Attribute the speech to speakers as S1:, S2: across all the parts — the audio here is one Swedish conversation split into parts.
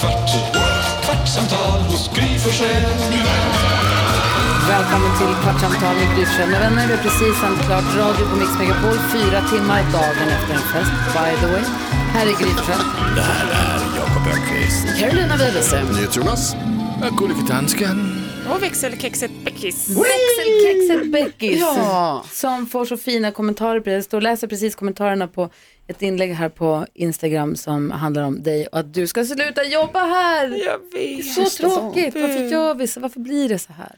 S1: kvart, what? kvartsamtal hos Gry Forssell med vänner.
S2: Välkommen till Kvartsamtal med Gry Forssell med vänner. Det är precis sänt klart radio på Mix Megapol fyra timmar dagen efter en fest, by the way. Här är Gry Forssell.
S3: Det här är Jakob Öqvist.
S2: Carolina Widerström.
S3: Jonas. Gullige dansken.
S4: Och växelkexet Beckis.
S2: Växelkexet Beckis.
S4: Ja.
S2: Som får så fina kommentarer på det. Jag står och läser precis kommentarerna på ett inlägg här på Instagram som handlar om dig och att du ska sluta jobba här.
S4: Jag
S2: Det är
S4: vet.
S2: så tråkigt. Varför
S4: Mm.
S2: gör vi så? Varför blir det så här?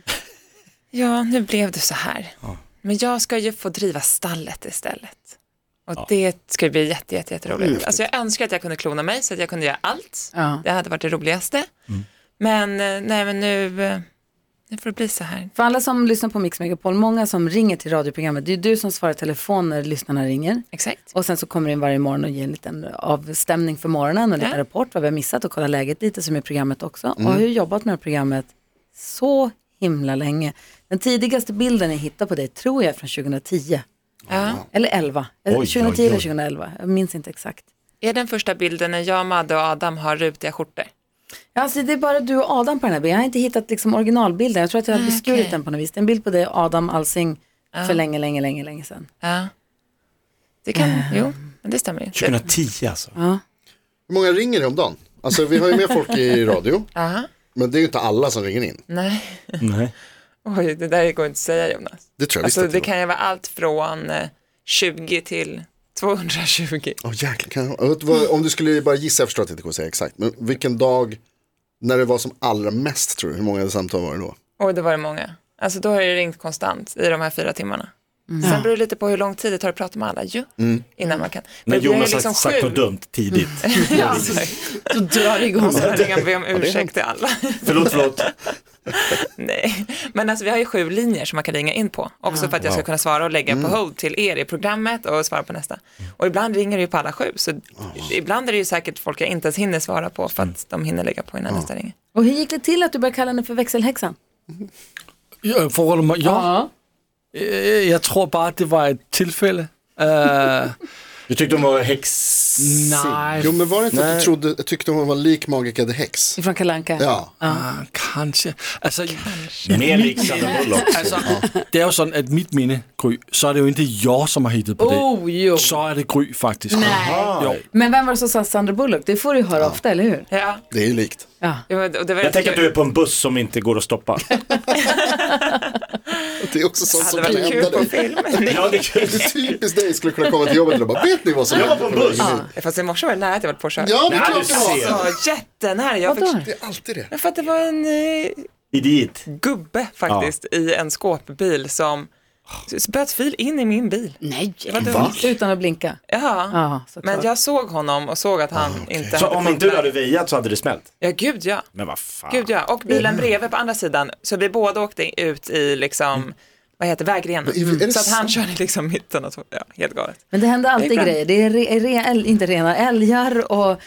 S4: Ja, nu blev det så här. Men jag ska ju få driva stallet istället. Och det ska ju bli jätte, jätte, jätteroligt.
S2: Mm.
S4: Alltså jag önskar att jag kunde klona mig så att jag kunde göra allt.
S2: Ja.
S4: Det hade varit det roligaste. Men eh, nej, men nu, eh, nu får det bli så här.
S2: För alla som lyssnar på Mix Megapol, många som ringer till radioprogrammet, det är du som svarar i telefon när lyssnarna ringer.
S4: Exakt.
S2: Och sen så kommer du in varje morgon och ger en liten avstämning för morgonen och lite
S4: Ja.
S2: rapport vad vi har missat och kolla läget lite som är programmet också.
S4: Mm.
S2: Och har ju jobbat med det här programmet så himla länge. Den tidigaste bilden jag hittade på dig tror jag är från 2010.
S4: Ja.
S2: Eller 11.
S4: Oj,
S2: 2010
S4: oj, oj.
S2: eller 2011, jag minns inte exakt.
S4: Är den första bilden när jag, Madde och Adam har rutiga skjortor?
S2: Ja, Alltså, det är bara du och Adam på den här bilden. Jag har inte hittat liksom, originalbilden. Jag tror att
S4: Ah,
S2: jag har beskurit den på något vis. Det är en bild på dig och Adam Alsing för
S4: Ja.
S2: länge, länge, länge, länge sedan.
S4: Ja. Det kan, jo, men det stämmer ju.
S5: 2010 alltså.
S6: Hur många ringer det om dagen? Alltså vi har ju med folk i radio,
S4: Ja,
S6: men det är ju inte alla som ringer in.
S4: nej.
S5: Nej.
S4: Oj, det där går inte att säga Jonas.
S6: Det tror jag visst
S4: alltså,
S6: att det
S4: det kan ju vara allt från eh, 20 till 220.
S6: Åh jäklar, kan jag... vet du vad, om du skulle bara gissa, jag förstår att jag inte kommer säga exakt, men vilken dag när det var som allra mest tror du, hur många samtal var det då?
S4: Oj, det var det många. Alltså då har det ringt konstant i de här fyra timmarna. Sen beror det lite på hur lång tid det tar att prata med alla ju,
S5: Mm.
S4: innan man kan.
S5: När
S4: det blir ju liksom
S5: Jonas har sagt
S4: sju. Mm.
S5: något dumt tidigt.
S4: ja,
S2: Då drar det
S5: igång.
S4: Och så tänker jag be om
S5: Ja, det är
S4: ursäkt till alla.
S5: Förlåt, förlåt.
S4: Nej, men alltså vi har ju sju linjer som man kan ringa in på. Också
S5: Ja.
S4: för att jag ska
S5: Wow.
S4: kunna svara och lägga
S5: Mm.
S4: på hold till er i programmet och svara på nästa. Och ibland ringer det ju på alla sju, så ibland är det ju säkert folk jag inte ens hinner svara på för
S5: Mm.
S4: att de hinner lägga på innan nästa ringer.
S2: Och hur gick det till att du började kalla henne för växelhäxan?
S7: Jag förhåller mig, ja. Eh, Jag tror bara att det var ett tillfälle. Eh,
S5: Du tyckte hon var häx...
S7: Nej.
S6: Jo men var det inte att
S7: Nej.
S6: du trodde, jag tyckte hon var lik Magica the Hex?
S2: Ifrån Kalanka.
S6: Ja.
S7: Ah, kanske. Alltså,
S5: Mer lik Sandra Bullock.
S7: Alltså, det är ju sån att mitt minne, Gry, så är det ju inte jag som har hittat på det.
S2: Oh, jo.
S7: Så är det Gry faktiskt.
S2: Nej.
S7: Jo.
S2: Men vem var det som sa Sandra Bullock? Det får du ju höra ofta, eller hur?
S4: Ja.
S6: Det är ju likt.
S2: Ja.
S4: det var
S5: Jag tänker att du är på en buss som inte går att stoppa.
S6: Det är också sånt
S5: Hade
S6: som
S5: varit
S6: kan
S5: kul
S6: hända
S5: på
S6: dig.
S5: film. Ja, det är kul.
S6: Typiskt dig skulle kunna komma till jobbet och bara, vet ni vad som
S4: Jag var på
S6: hände?
S4: Ja, fast i morse var det nära att jag var påkörd.
S6: Ja, det är Nej, klart du det var. ser.
S4: Alltså, jättenära. Jag
S6: Vadå?
S4: fick...
S6: Det är alltid det.
S4: För att det var en eh,
S5: Idiot.
S4: gubbe faktiskt i en skåpbil som s- böt fil in i min bil.
S2: Nej,
S4: det var
S5: Va?
S4: dumt.
S2: Utan att blinka.
S4: Ja,
S2: Ja,
S4: men jag såg honom och såg att han inte
S5: Ah, Så
S4: hade
S5: om inte du hade väjat så hade det smält?
S4: Ja, gud ja.
S5: Men vad fan.
S4: Gud ja, och
S2: Mm.
S4: bilen bredvid på andra sidan, så vi båda åkte ut i liksom,
S5: Mm.
S4: vad heter vägrenen?
S2: Men är det
S4: Så att han
S2: sant?
S4: körde liksom mitten och så, ja, helt galet.
S2: Men det händer alltid
S4: Ibland.
S2: grejer. Det är re, re, äl- inte rena älgar och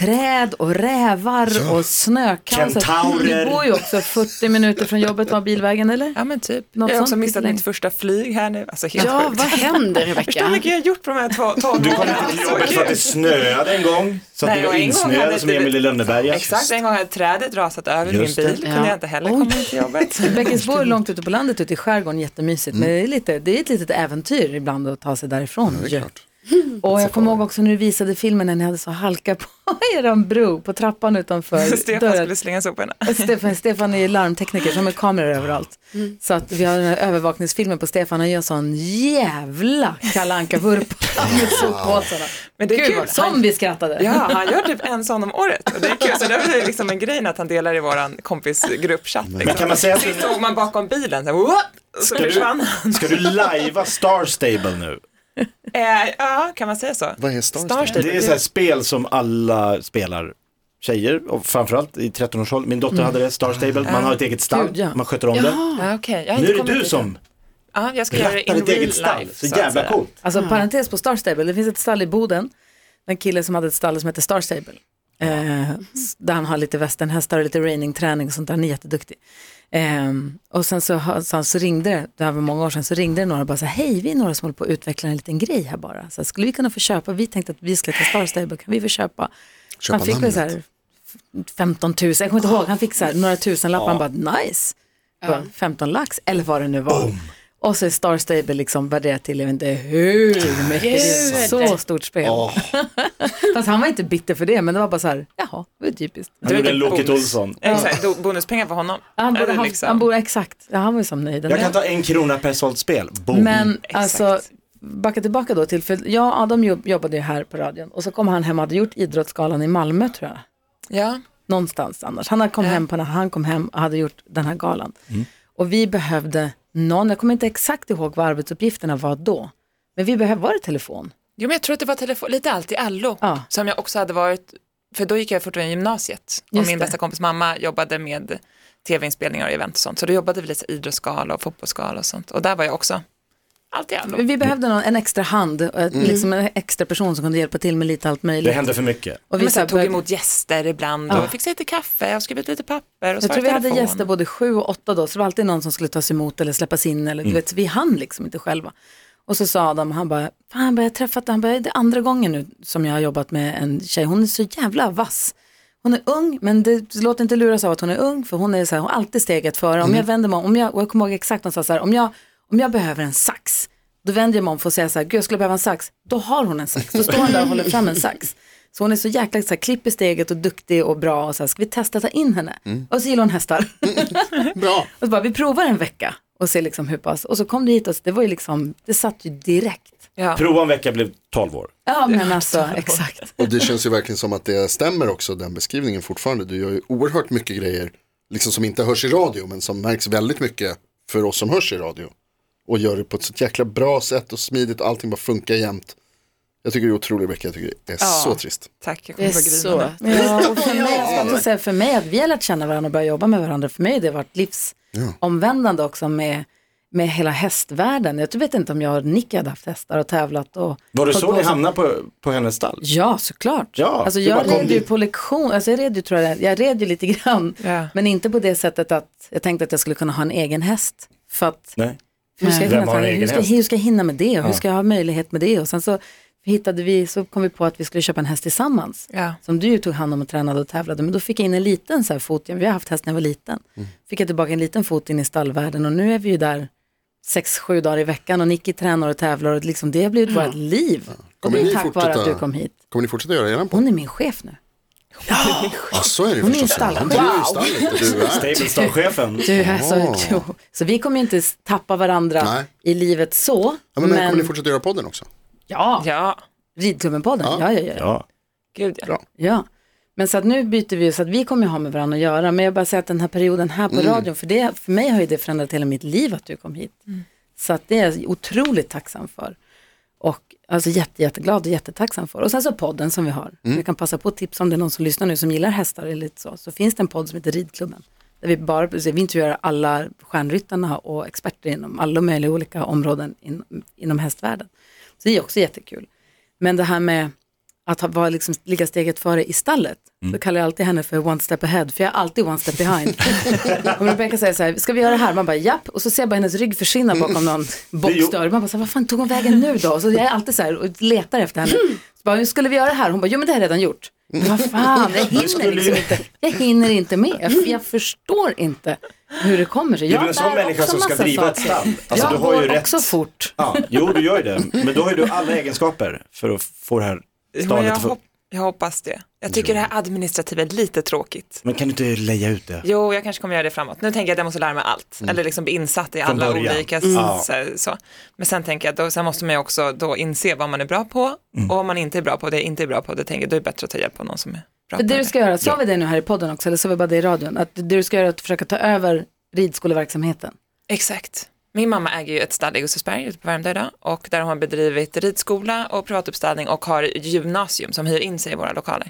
S2: träd och rävar och snökaos.
S4: Kentaurer.
S2: Du bor ju också 40 minuter från jobbet var bilvägen eller?
S4: Ja men typ.
S2: Något
S4: jag har också
S2: sånt,
S4: missat
S2: lite
S4: mitt första flyg här nu. Alltså, helt
S2: Ja,
S4: sjukt.
S2: vad händer, Rebecca?
S4: Förstår du hur mycket jag har gjort på de här två, tolv
S5: Du kom
S4: månaderna?
S5: inte till
S4: Så
S5: jobbet för att
S4: kul.
S5: det snöade en gång. Så att
S4: Nej,
S5: ni var
S4: och en gång hade
S5: insnöade som
S4: ett
S5: Emil i
S4: litet-
S5: Lönneberga.
S4: Exakt, en gång hade trädet rasat över
S5: Just
S4: min
S5: det.
S4: bil, kunde
S2: Ja.
S4: jag inte heller komma in till jobbet.
S2: Bäckis bor långt ute på landet, ute i skärgården, jättemysigt. Men det
S4: Mm.
S2: är, lite, det är ett litet äventyr ibland att ta sig därifrån. ju. Och jag kommer ihåg också när du visade filmen när ni hade så halka på eran bro, på trappan utanför
S4: Stefan
S2: dörren. Eh,
S4: skulle slänga soporna.
S2: Stefan, Stefan är ju larmtekniker som har kameror överallt.
S4: Mm.
S2: Så att vi har den här övervakningsfilmen på Stefan, han gör sån jävla Kalle Anka-vurpa med soppåsarna.
S4: Men det är
S2: Gud,
S4: kul.
S2: Som vi skrattade.
S4: Ja, han gör typ en sån om året. Och det är kul, så det är liksom en grej att han delar i våran kompisgruppchatt. Liksom.
S5: kan man säga att-
S4: Sist såg man bakom bilen, så, här, "Whoop!" och så
S5: Ska du,
S4: försvann han.
S5: ska du lajva Star Stable nu?
S4: Eh, ja, kan man säga så?
S5: Vad är
S4: Star Stable?
S5: Det är så här spel som alla spelar tjejer, och framförallt i 13-årsåldern. Min
S4: Mm.
S5: dotter hade det, Star Stable, man har ett eget stall,
S2: Gud, ja.
S5: man sköter om det.
S4: Ja, okej. Jag har
S5: Nu
S4: inte
S5: är det
S4: kommit
S5: du
S4: dit än.
S5: som
S4: Ja, jag ska göra det
S5: rattar
S4: in
S5: ditt
S4: real
S5: eget stall.
S4: life.
S5: Så
S4: att
S5: jävla
S4: säga.
S5: coolt.
S2: Alltså parentes på Star Stable, det finns ett stall i Boden, en kille som hade ett stall som heter Star Stable. Eh, s- där han har lite västernhästar och lite reining-träning och sånt där, han är jätteduktig. Eh, och sen så, har- så, så ringde det, det här var många år sedan, så ringde det några och bara så här, hej vi är några som håller på att utveckla en liten grej här bara. Så här, skulle vi kunna få köpa, vi tänkte att vi skulle till Star Stable, kan vi få köpa?
S6: Köpa
S2: han fick väl
S6: namnet.
S2: så här f- 15 000, jag kommer inte ihåg, han fick så här några tusenlappar, han bara nice, bara, 15 lax eller vad det nu var. Och så är Star Stable liksom värderat till, jag vet inte hur mycket, det är så stort spel. Fast han var inte bitter för det, men det var bara så här, jaha, det var typiskt.
S5: Han gjorde en Loket
S4: bonus.
S5: Olsson.
S4: Exakt, do- bonuspengar för honom.
S2: Han borde,
S4: Eller
S2: han,
S4: liksom-
S2: han borde exakt, ja, han var ju som nöjd.
S5: Jag kan ta Mm, en krona per sålt spel. Boom.
S2: Men
S4: exakt.
S2: alltså, backa tillbaka då till, för jag och Adam jobb- jobbade ju här på radion och så kom han hem och hade gjort Idrottsgalan i Malmö tror jag.
S4: Ja,
S2: någonstans annars. Han kom hem på när han kom hem och hade gjort den här galan.
S5: Mm.
S2: Och vi behövde någon, jag kommer inte exakt ihåg vad arbetsuppgifterna var då, men vi behövde, var det telefon?
S4: jo, men jag tror att det var telefon, lite allt i allo,
S2: Ja.
S4: som jag också hade varit, för då gick jag fortfarande i gymnasiet och
S2: Just
S4: min
S2: det.
S4: bästa kompis mamma jobbade med tv-inspelningar och event och sånt, så då jobbade vi lite idrottsgala och fotbollsgala och sånt, och där var jag också, allt i allo.
S2: Vi behövde någon, en extra hand, och
S4: Mm.
S2: ett- liksom en extra person som kunde hjälpa till med lite allt möjligt.
S5: Det hände för mycket.
S2: och
S4: Vi så här,
S2: här
S4: tog
S2: började-
S4: emot gäster ibland och fixade lite kaffe och skrev ut lite papper och
S2: Jag
S4: svarade
S2: tror vi hade
S4: telefon.
S2: gäster både sju och åtta då, så det var alltid någon som skulle tas emot eller släppas in. Eller, du vet, vi hann liksom inte själva. Och så sa Adam, han bara, fan han bara, jag har träffat, han bara, det är andra gången nu som jag har jobbat med en tjej, hon är så jävla vass. Hon är ung, men det, låt inte luras av att hon är ung, för hon är så här, hon har alltid steget före. Om jag vänder mig om, om jag, och jag kommer ihåg exakt, hon sa så här, om jag, om jag behöver en sax, då vänder jag mig om för att säga så här, gud jag skulle behöva en sax, då har hon en sax, då står hon där och håller fram en sax. Så hon är så jäkla så här, klipp i steget och duktig och bra och så här, ska vi testa att ta in henne? Och så gillar hon hästar.
S6: Bra.
S2: Och så bara, vi provar en vecka och ser liksom hur pass. Och så kom det hit och så- det var ju liksom, det satt ju direkt.
S4: Ja.
S5: Prova en vecka blev 12 år.
S2: Ja men alltså, exakt.
S6: Och det känns ju verkligen som att det stämmer också den beskrivningen fortfarande. Du gör ju oerhört mycket grejer, liksom som inte hörs i radio, men som märks väldigt mycket för oss som hörs i radio. Och gör det på ett så jäkla bra sätt och smidigt, allting bara funkar jämt. Jag tycker det är otroligt mycket, jag tycker det är så trist.
S4: Tack, jag
S8: Det
S4: kommer
S8: är
S4: få grina
S8: så.
S4: nu.
S2: Ja, och för mig, jag ska inte säga för mig att vi har lärt känna varandra och börjat jobba med varandra, för mig har det varit livsomvändande också med, med hela hästvärlden. Jag vet inte om jag och Nicky hade haft hästar och tävlat och
S5: Var det
S2: hållit
S5: så
S2: på
S5: ni
S2: och
S5: hamnade på, på hennes stall?
S2: Ja, såklart.
S5: Ja,
S2: alltså,
S5: det
S2: jag
S5: bara kom
S2: red ju
S5: dit.
S2: på lektion, alltså, jag red ju, tror jag, jag red ju lite grann,
S4: Ja.
S2: men inte på det sättet att jag tänkte att jag skulle kunna ha en egen häst. För att
S5: Nej.
S2: Hur ska, jag
S5: Vem
S2: kunna
S5: har
S2: ta,
S5: en egen
S2: hur, ska,
S5: häst?
S2: hur ska jag hinna med det och hur ska jag ha möjlighet med det? Och sen så hittade vi, så kom vi på att vi skulle köpa en häst tillsammans.
S4: Ja.
S2: Som du ju tog hand om och tränade och tävlade. Men då fick jag in en liten så här fot, vi har haft häst när jag var liten.
S6: Mm.
S2: Fick jag tillbaka en liten fot in i stallvärlden och nu är vi ju där sex, sju dagar i veckan och Nicky tränar och tävlar och liksom det har blivit vårt liv. Och
S6: Kommer
S2: det är
S6: ni
S2: tack vare att
S6: fortsätta-
S2: du kom hit.
S6: Kommer ni fortsätta göra eran podd?
S2: Hon är min chef nu.
S6: Ja, så är det ju
S2: Hon är
S6: förstås.
S2: ju stall-
S6: Hon driver ju stallet och du är här.
S5: Stablestallchefen.
S2: Du, alltså,
S6: Åh.
S2: jo. Så vi kommer ju inte tappa varandra
S6: Nej.
S2: i livet så.
S6: Ja, men, kommer ni fortsätta göra podden också?
S2: ja,
S4: Ja,
S2: Ridklubben-podden, ja ja. ja, ja.
S5: Ja.
S4: gud ja.
S2: Ja, men så att nu byter vi ju så att vi kommer ju ha med varandra att göra. Men jag bara säger att den här perioden här på radion, för, det, för mig har ju det förändrat hela mitt liv att du kom hit. Så att det är jag otroligt tacksam för. Och alltså jätte, jätteglad och jättetacksam för. Och sen så podden som vi har. Vi kan passa på att tipsa om det är någon som lyssnar nu som gillar hästar eller lite så. Så finns det en podd som heter Ridklubben. Där vi bara, vi intervjuar alla stjärnryttarna och experter inom alla möjliga olika områden in, inom hästvärlden. Så det är också jättekul. Men det här med att ha, vara liksom, ligga steget före i stallet,
S5: Mm.
S2: så kallar jag alltid henne för one step ahead, för jag är alltid one step behind. Om Rebecca säger så här, ska vi göra det här? Man bara, japp, och så ser jag bara hennes rygg
S5: Mm.
S2: försvinna bakom någon boxdörr. Man bara, så här, vad fan tog hon vägen nu då? Och så jag är alltid så här och letar efter henne. Så bara, hur skulle vi göra det här? Hon bara, jo men det har jag redan gjort. Men Vad fan, jag hinner liksom inte. Jag hinner inte med. Jag, jag förstår inte hur det kommer sig.
S5: Du
S2: Jag
S5: är en sån
S2: bär
S5: människa
S2: också
S5: som ska
S2: massa
S5: driva ett
S2: saker.
S5: stall. Alltså,
S2: jag
S5: du har ju
S2: går
S5: rätt.
S2: också fort.
S5: Ja, jo, du gör ju det. Men då har ju du alla egenskaper för att få det här
S4: Men
S5: stallet
S4: jag,
S5: att få...
S4: hop- jag hoppas det. Jag tycker det här administrativa är lite tråkigt.
S5: Men kan du inte leja ut det?
S4: Jo, jag kanske kommer göra det framåt. Nu tänker jag att jag måste lära mig allt, eller liksom bli insatt i alla
S5: början.
S4: olika. Så, så. Men sen tänker jag att då, sen måste man ju också då inse vad man är bra på och om man inte är bra på det, inte är bra på det, tänker jag, då är det bättre att ta hjälp av någon som är bra
S2: För
S4: på
S2: det du ska göra, sa vi det nu här i podden också, eller sa vi bara det i radion? Att det du ska göra är att försöka ta över ridskoleverksamheten.
S4: Exakt. Min mamma äger ju ett stall i Gustavsberg ute på Värmdö idag och där har hon bedrivit ridskola och privatuppställning och har gymnasium som hyr in sig i våra lokaler.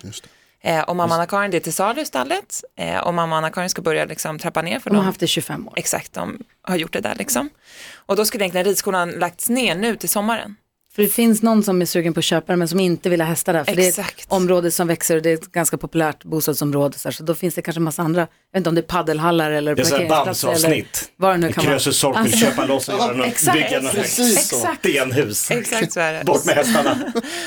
S4: Eh, och mamma Anna-Karin det är till salu istället. Eh, och mamma Anna-Karin ska börja liksom, trappa ner för
S2: De har
S4: dem.
S2: haft det i 25 år.
S4: Exakt, de har gjort det där liksom. Och då skulle egentligen ridskolan lagts ner nu till sommaren.
S2: För det finns någon som är sugen på att köpa det men som inte vill ha hästar där. För det är ett
S4: Exakt.
S2: område som växer och det är ett ganska populärt bostadsområde. Så, här, så då finns det kanske en massa andra, jag vet inte om det är paddelhallar eller
S5: Det är så här
S2: parkeringsplatser. eller
S5: Bamse-avsnitt.
S2: vad det nu kan vara. Alltså.
S5: Krösus Sork vill köpa loss och göra något,
S2: exakt,
S5: bygga något
S6: precis så.
S5: högt stenhus.
S4: Exakt så är det.
S5: Bort med hästarna.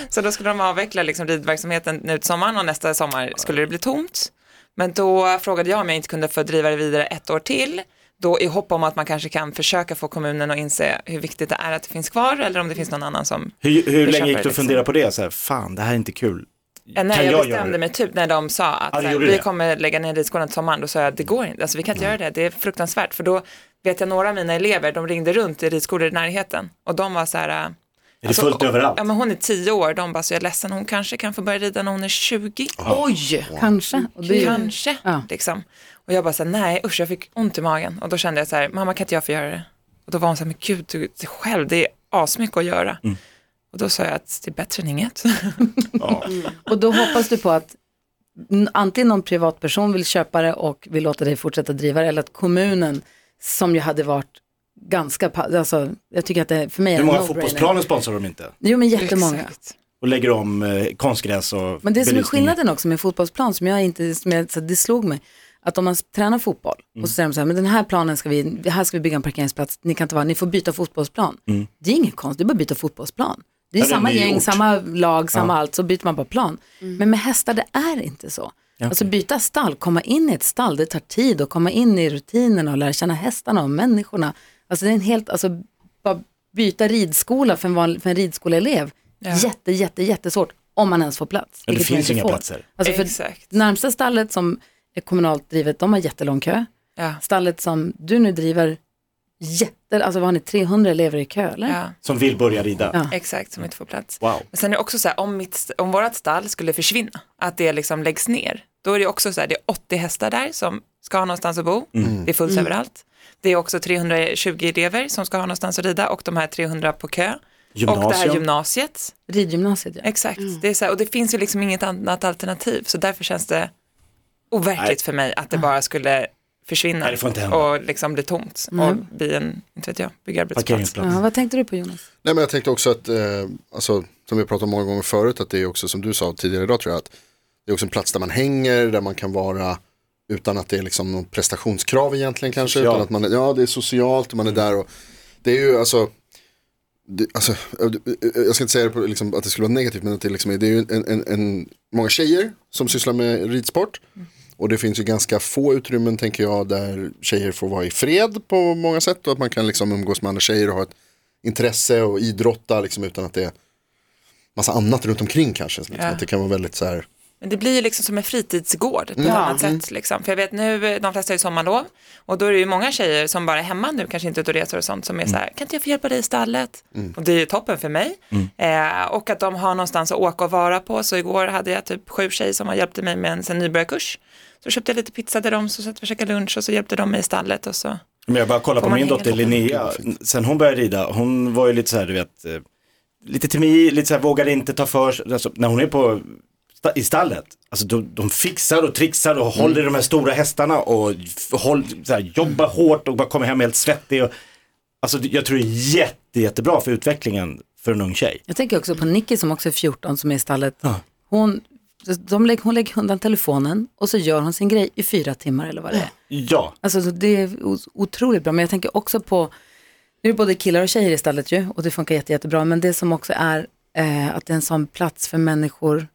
S4: Så då skulle de avveckla liksom ridverksamheten nu till sommaren och nästa sommar skulle det bli tomt. Men då frågade jag om jag inte kunde få driva det vidare ett år till. Då i hopp om att man kanske kan försöka få kommunen att inse hur viktigt det är att det finns kvar eller om det finns någon annan som...
S5: Hur, hur
S4: Vi köper
S5: länge gick du
S4: liksom.
S5: att fundera på det? Så här, fan, det här är inte kul.
S4: Eh,
S5: Kan
S4: när jag,
S5: jag göra det?
S4: bestämde mig typ när de sa att
S5: Ja, det
S4: så här,
S5: gjorde
S4: vi
S5: det.
S4: kommer lägga ner ridskolan till sommaren, då sa jag att det går inte, alltså vi kan inte göra det, det är fruktansvärt. För då vet jag några av mina elever, de ringde runt i ridskolor i närheten och de var så här... eh,
S5: Är det
S2: Alltså,
S5: fullt överallt?
S4: Ja, men hon är tio år, de bara så jag är ledsen, hon kanske kan få börja rida när hon är 20.
S2: Oj, kanske. Och det är ju
S4: Kanske,
S2: Ja.
S4: liksom. Och jag bara så här, nej usch, jag fick ont i magen. Och då kände jag så här, mamma kan inte jag få göra det? Och då var hon så här, men gud, du, du själv, det är asmycket att göra.
S5: Mm.
S4: Och då sa jag att det är bättre än inget.
S2: Och då hoppas du på att n- antingen någon privatperson vill köpa det och vill låta dig fortsätta driva det eller att kommunen som ju hade varit ganska, pa- alltså jag tycker att det för mig är
S5: Hur
S2: en
S5: många
S2: no-brainer.
S5: fotbollsplaner sponsrar de inte?
S2: Jo men jättemånga.
S5: Och lägger om eh, konstgräs och
S2: Men det som är
S5: belysning.
S2: skillnaden också med fotbollsplan som jag inte, som jag, så det slog mig, att om man s- tränar fotboll
S5: Mm.
S2: och så säger de så här, men den här planen ska vi, här ska vi bygga en parkeringsplats, ni kan inte vara, ni får byta fotbollsplan. Det är inget konstigt, det är bara att byta fotbollsplan. Det är
S5: Mm. Ja, det är
S2: samma
S5: en ny
S2: gäng,
S5: ort.
S2: samma lag, samma allt, så byter man bara plan. Men med hästar, det är inte så. Alltså byta stall, komma in i ett stall, det tar tid att komma in i rutinerna och lära känna hästarna och människorna. Alltså det är en helt, alltså bara byta ridskola för en, vanlig, för en ridskoleelev, jätte, jätte, jättesvårt. Om man ens får plats.
S5: Ja, det
S2: vilket man
S5: finns
S2: inte
S5: inga
S2: får.
S5: platser.
S2: Alltså för
S4: Exakt.
S2: Närmsta stallet som är kommunalt drivet, de har jättelång kö.
S4: Ja.
S2: Stallet som du nu driver, jätte, alltså vad har ni, 300 elever i kö eller?
S4: Ja,
S5: Som vill börja rida.
S2: Ja.
S4: exakt, som inte får plats.
S5: Wow.
S4: Men sen är det också så här, om, mitt, om vårat stall skulle försvinna, att det liksom läggs ner, då är det också så här, det är 80 hästar där som ska ha någonstans att bo,
S5: Mm.
S4: det är fullt överallt. Det är också 320 elever som ska ha någonstans att rida och de här 300 på kö. Och det här
S5: Gymnasium.
S4: gymnasiet.
S2: Ridgymnasiet ja.
S4: Exakt, det är så här, och det finns ju liksom inget annat alternativ så därför känns det overkligt
S5: Nej.
S4: för mig att det bara skulle försvinna
S5: Nej, det får inte hända.
S4: och liksom bli tomt och bli en, inte vet jag, byggarbetsplats.
S5: Parkeringsplats.
S2: ja. Vad tänkte du på Jonas?
S6: Nej men jag tänkte också att, eh, alltså, som vi pratat om många gånger förut, att det är också som du sa tidigare idag tror jag, att det är också en plats där man hänger, där man kan vara utan att det är liksom någon prestationskrav egentligen kanske.
S5: Socialt.
S6: Utan att man är, ja, det är socialt och man är där och det är ju alltså, det, alltså jag ska inte säga det på, liksom, att det skulle vara negativt, men att det, liksom, är- det är ju en, en, en, många tjejer som sysslar med ridsport. Och det finns ju ganska få utrymmen tänker jag där tjejer får vara i fred på många sätt och att man kan liksom umgås med andra tjejer och ha ett intresse och idrotta liksom, utan att det är massa annat runt omkring kanske. Liksom,
S4: Ja.
S6: Att det kan vara väldigt så här,
S4: Men det blir ju liksom som en fritidsgård
S8: Mm.
S4: på ett annat sätt. Liksom. För jag vet nu, eh, de flesta är ju sommarlov och då är det ju många tjejer som bara är hemma nu, kanske inte ute och reser och sånt, som är så
S8: Mm.
S4: här, kan inte jag få hjälpa dig i stallet? Och det är ju toppen för mig. Eh, och att de har någonstans att åka och vara på. Så igår hade jag typ sju tjejer som har hjälpte mig med en sån nybörjarkurs. Så köpte jag lite pizza till dem, så satt vi och käkade lunch och så hjälpte de mig i stallet och så.
S5: Men jag bara kollar
S4: Får
S5: på
S4: man
S5: min
S4: hänga
S5: dotter
S4: lite?
S5: Linnea, sen hon började rida, hon var ju lite så här, du vet, eh, lite timid, lite så här, vågade inte ta för sig. alltså, när hon är på, sta- i stallet, alltså de, de fixar och trixar och håller i
S4: Mm.
S5: de här stora hästarna och f- håll, så här, jobbar hårt och bara kommer hem helt svettig. Och, alltså jag tror det är jätte, jättebra för utvecklingen för en ung tjej.
S2: Jag tänker också på Nicky som också är 14 som är i stallet. Hon, de lägger, hon lägger undan telefonen och så gör hon sin grej i fyra timmar eller vad det är.
S5: Ja,
S2: Alltså så det är o- otroligt bra, men jag tänker också på, nu är det både killar och tjejer i stallet ju, och det funkar jätte, jättebra, men det som också är eh, att det är en sån plats för människor,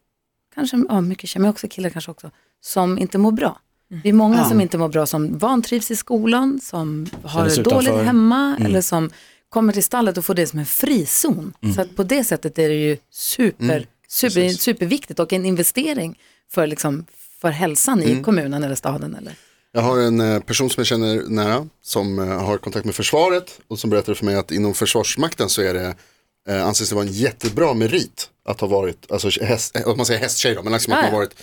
S2: kanske ja, mycket tjejer, men också killar kanske också, som inte mår bra.
S5: Mm.
S2: Det är många som inte mår bra, som vantrivs i skolan, som har
S5: Känner
S2: det
S5: sig
S2: dåligt
S5: utanför. Mm.
S2: hemma, eller som kommer till stallet och får det som en frizon.
S5: Mm.
S2: Så att på det sättet är det ju super, super, superviktigt och en investering för, liksom, för hälsan
S5: Mm.
S2: i kommunen eller staden. Eller.
S6: Jag har en eh, person som jag känner nära som eh, har kontakt med försvaret och som berättade för mig att inom försvarsmakten så är det eh, anses det vara en jättebra merit att ha varit, alltså häst, eh, om man säger hästtjej då, men liksom att
S2: Ja,
S6: man
S2: ja.
S6: varit,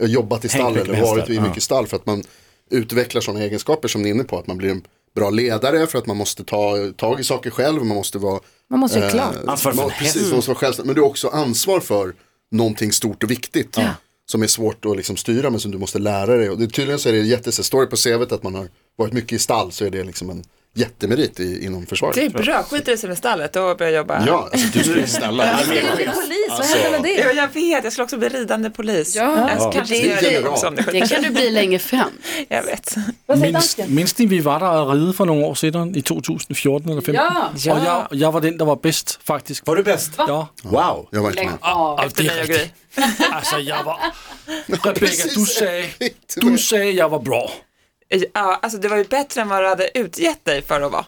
S6: eh, jobbat i
S5: Hängt
S6: stall
S5: mycket
S6: eller
S5: med
S6: varit
S5: hästar,
S6: i
S5: ja.
S6: mycket stall för att man utvecklar sådana egenskaper som ni är inne på, att man blir en bra ledare för att man måste ta tag i saker själv, man måste vara
S2: Man måste ju klart.
S6: Eh,
S5: Ansvar för
S6: man-
S5: en häst.
S6: Precis, man måste vara självständig. Men du har också ansvar för någonting stort och viktigt. Som är svårt att liksom styra men som du måste lära dig. Och det, tydligen så är det jätte, så står det på CVt att man har varit mycket i stall så är det liksom en jättemerit i, inom försvaret.
S4: Det är bra, skit i det som är stallet och börja jobba.
S6: Ja, alltså, du skulle snälla.
S2: Polis, vad hände med
S4: Ja,
S2: det?
S4: jag vet, jag skulle också bli ridande polis.
S8: Ja.
S4: Jag
S8: Ja.
S4: kanske
S8: Det
S4: ska
S8: är
S4: göra det
S6: general.
S4: också om det
S8: Det
S4: sker.
S8: kan du bli länge fram.
S4: Jag vet.
S2: Vad säger
S7: Minst,
S2: dansken?
S7: minst ni vi var der og ride for nogle år siden, i 2014 eller 15.
S8: Ja.
S7: Og jeg, jeg var den, der var bedst, faktisk.
S5: Var du bäst?
S7: Ja.
S5: Wow.
S6: Jag var inte med.
S7: Og
S4: Efter mig och Gry.
S7: Altså, jeg Alltså, var... Rebecca, du sagde,
S6: Inte
S7: du
S6: med.
S7: sagde, jeg var bra.
S4: Ja, alltså det var ju bättre än vad du hade utgett dig för att vara.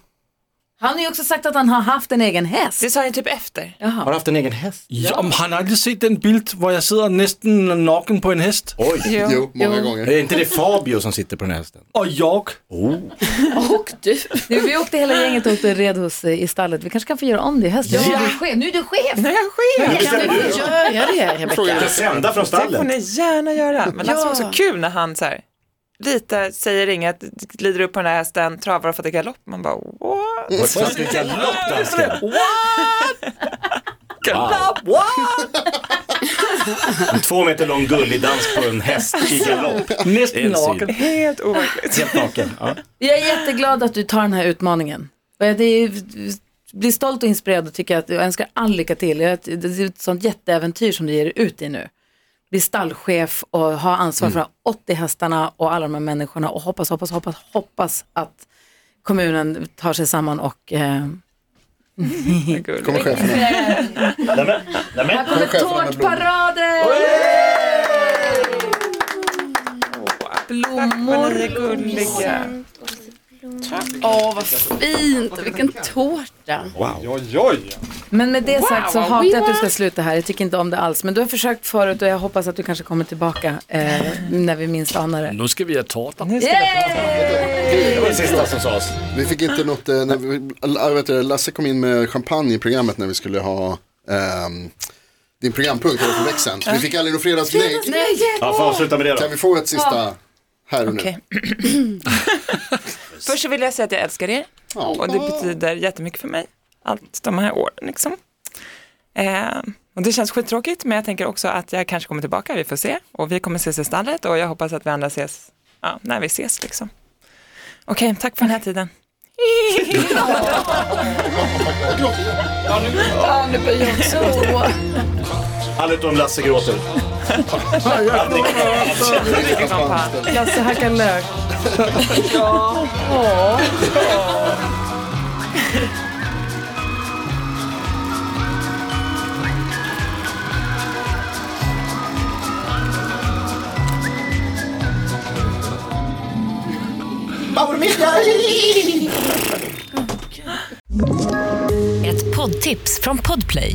S2: Han har ju också sagt att han har haft en egen häst.
S4: Det sa jag typ efter.
S5: Har du haft en egen häst?
S7: Ja. Om han aldrig set den bild, hvor jag sidder nästan naken på en häst,
S5: Oj.
S6: Jo, många
S5: Är
S6: gånger.
S5: det inte det Fabio som sitter på den här hästen?
S7: och jag
S8: Och du.
S2: Nu, vi åkte hela gänget och åkte och red hos, eh, i stallet. Vi kanske kan få göra om det i höst. Ja. Du är chef. Nu är du chef!
S4: Nej, jag sker.
S8: Kan du få göra det, Rebecka?
S5: Sända från
S4: Det får ni
S5: stallet.
S4: gärna göra. Men Lasse var
S8: Ja.
S4: så kul när han så här, lite säger inget, glider upp på den här hästen, travar och fattar galopp. Man bara, what?
S5: Fast det är galopp, dansken.
S4: Galopp, what?
S5: En två meter lång gullig dans på en häst i galopp.
S7: nästan
S5: Det är en
S7: naken.
S4: Helt overkligt.
S5: Helt naken. Ja.
S2: Jag är jätteglad att du tar den här utmaningen. Och jag det är- blir stolt och inspirerad och tycker att jag önskar all lycka till. Jag- Det är ett sånt jätteäventyr som du ger dig ut i nu. Bli stallchef och ha ansvar för de här 80 hästarna och alla de här människorna och hoppas, hoppas, hoppas, hoppas att kommunen tar sig samman och eh,
S6: Kommer cheferna.
S2: här kommer
S6: chefen med
S2: tårtparader!
S4: Vad ni
S2: Blommor!
S4: är gulliga.
S8: Åh, vad fint. Vilken tårta.
S2: Men med det sagt så hatar jag att du ska sluta här. Jag tycker inte om det alls. Men du har försökt förut och jag hoppas att du kanske kommer tillbaka eh, när vi minst anar det.
S7: Nu ska vi have tårter.
S5: Det var det sista som sades.
S6: Vi fick inte något, eh, när vi, äh, vet du, Lasse kom in med champagne i programmet när vi skulle ha ehm, din programpunkt eller förväxeln. Vi fick aldrig något fredagsgnägg.
S5: Ja, får avsluta med det då.
S6: Kan vi få ett sista här och nu?
S4: Okej. Först så vill jag säga att jag älskar er och det betyder jättemycket för mig, allt de här åren liksom. Eh, och det känns skittråkigt men jag tänker också att jag kanske kommer tillbaka, vi får se. Och vi kommer ses i stallet och jag hoppas att vi andra ses, ja, när vi ses liksom. Okej, tack för den här tiden.
S5: Allt utom Lasse gråter.
S2: Lasse hackar lök.
S9: Ett poddtips från Podplay.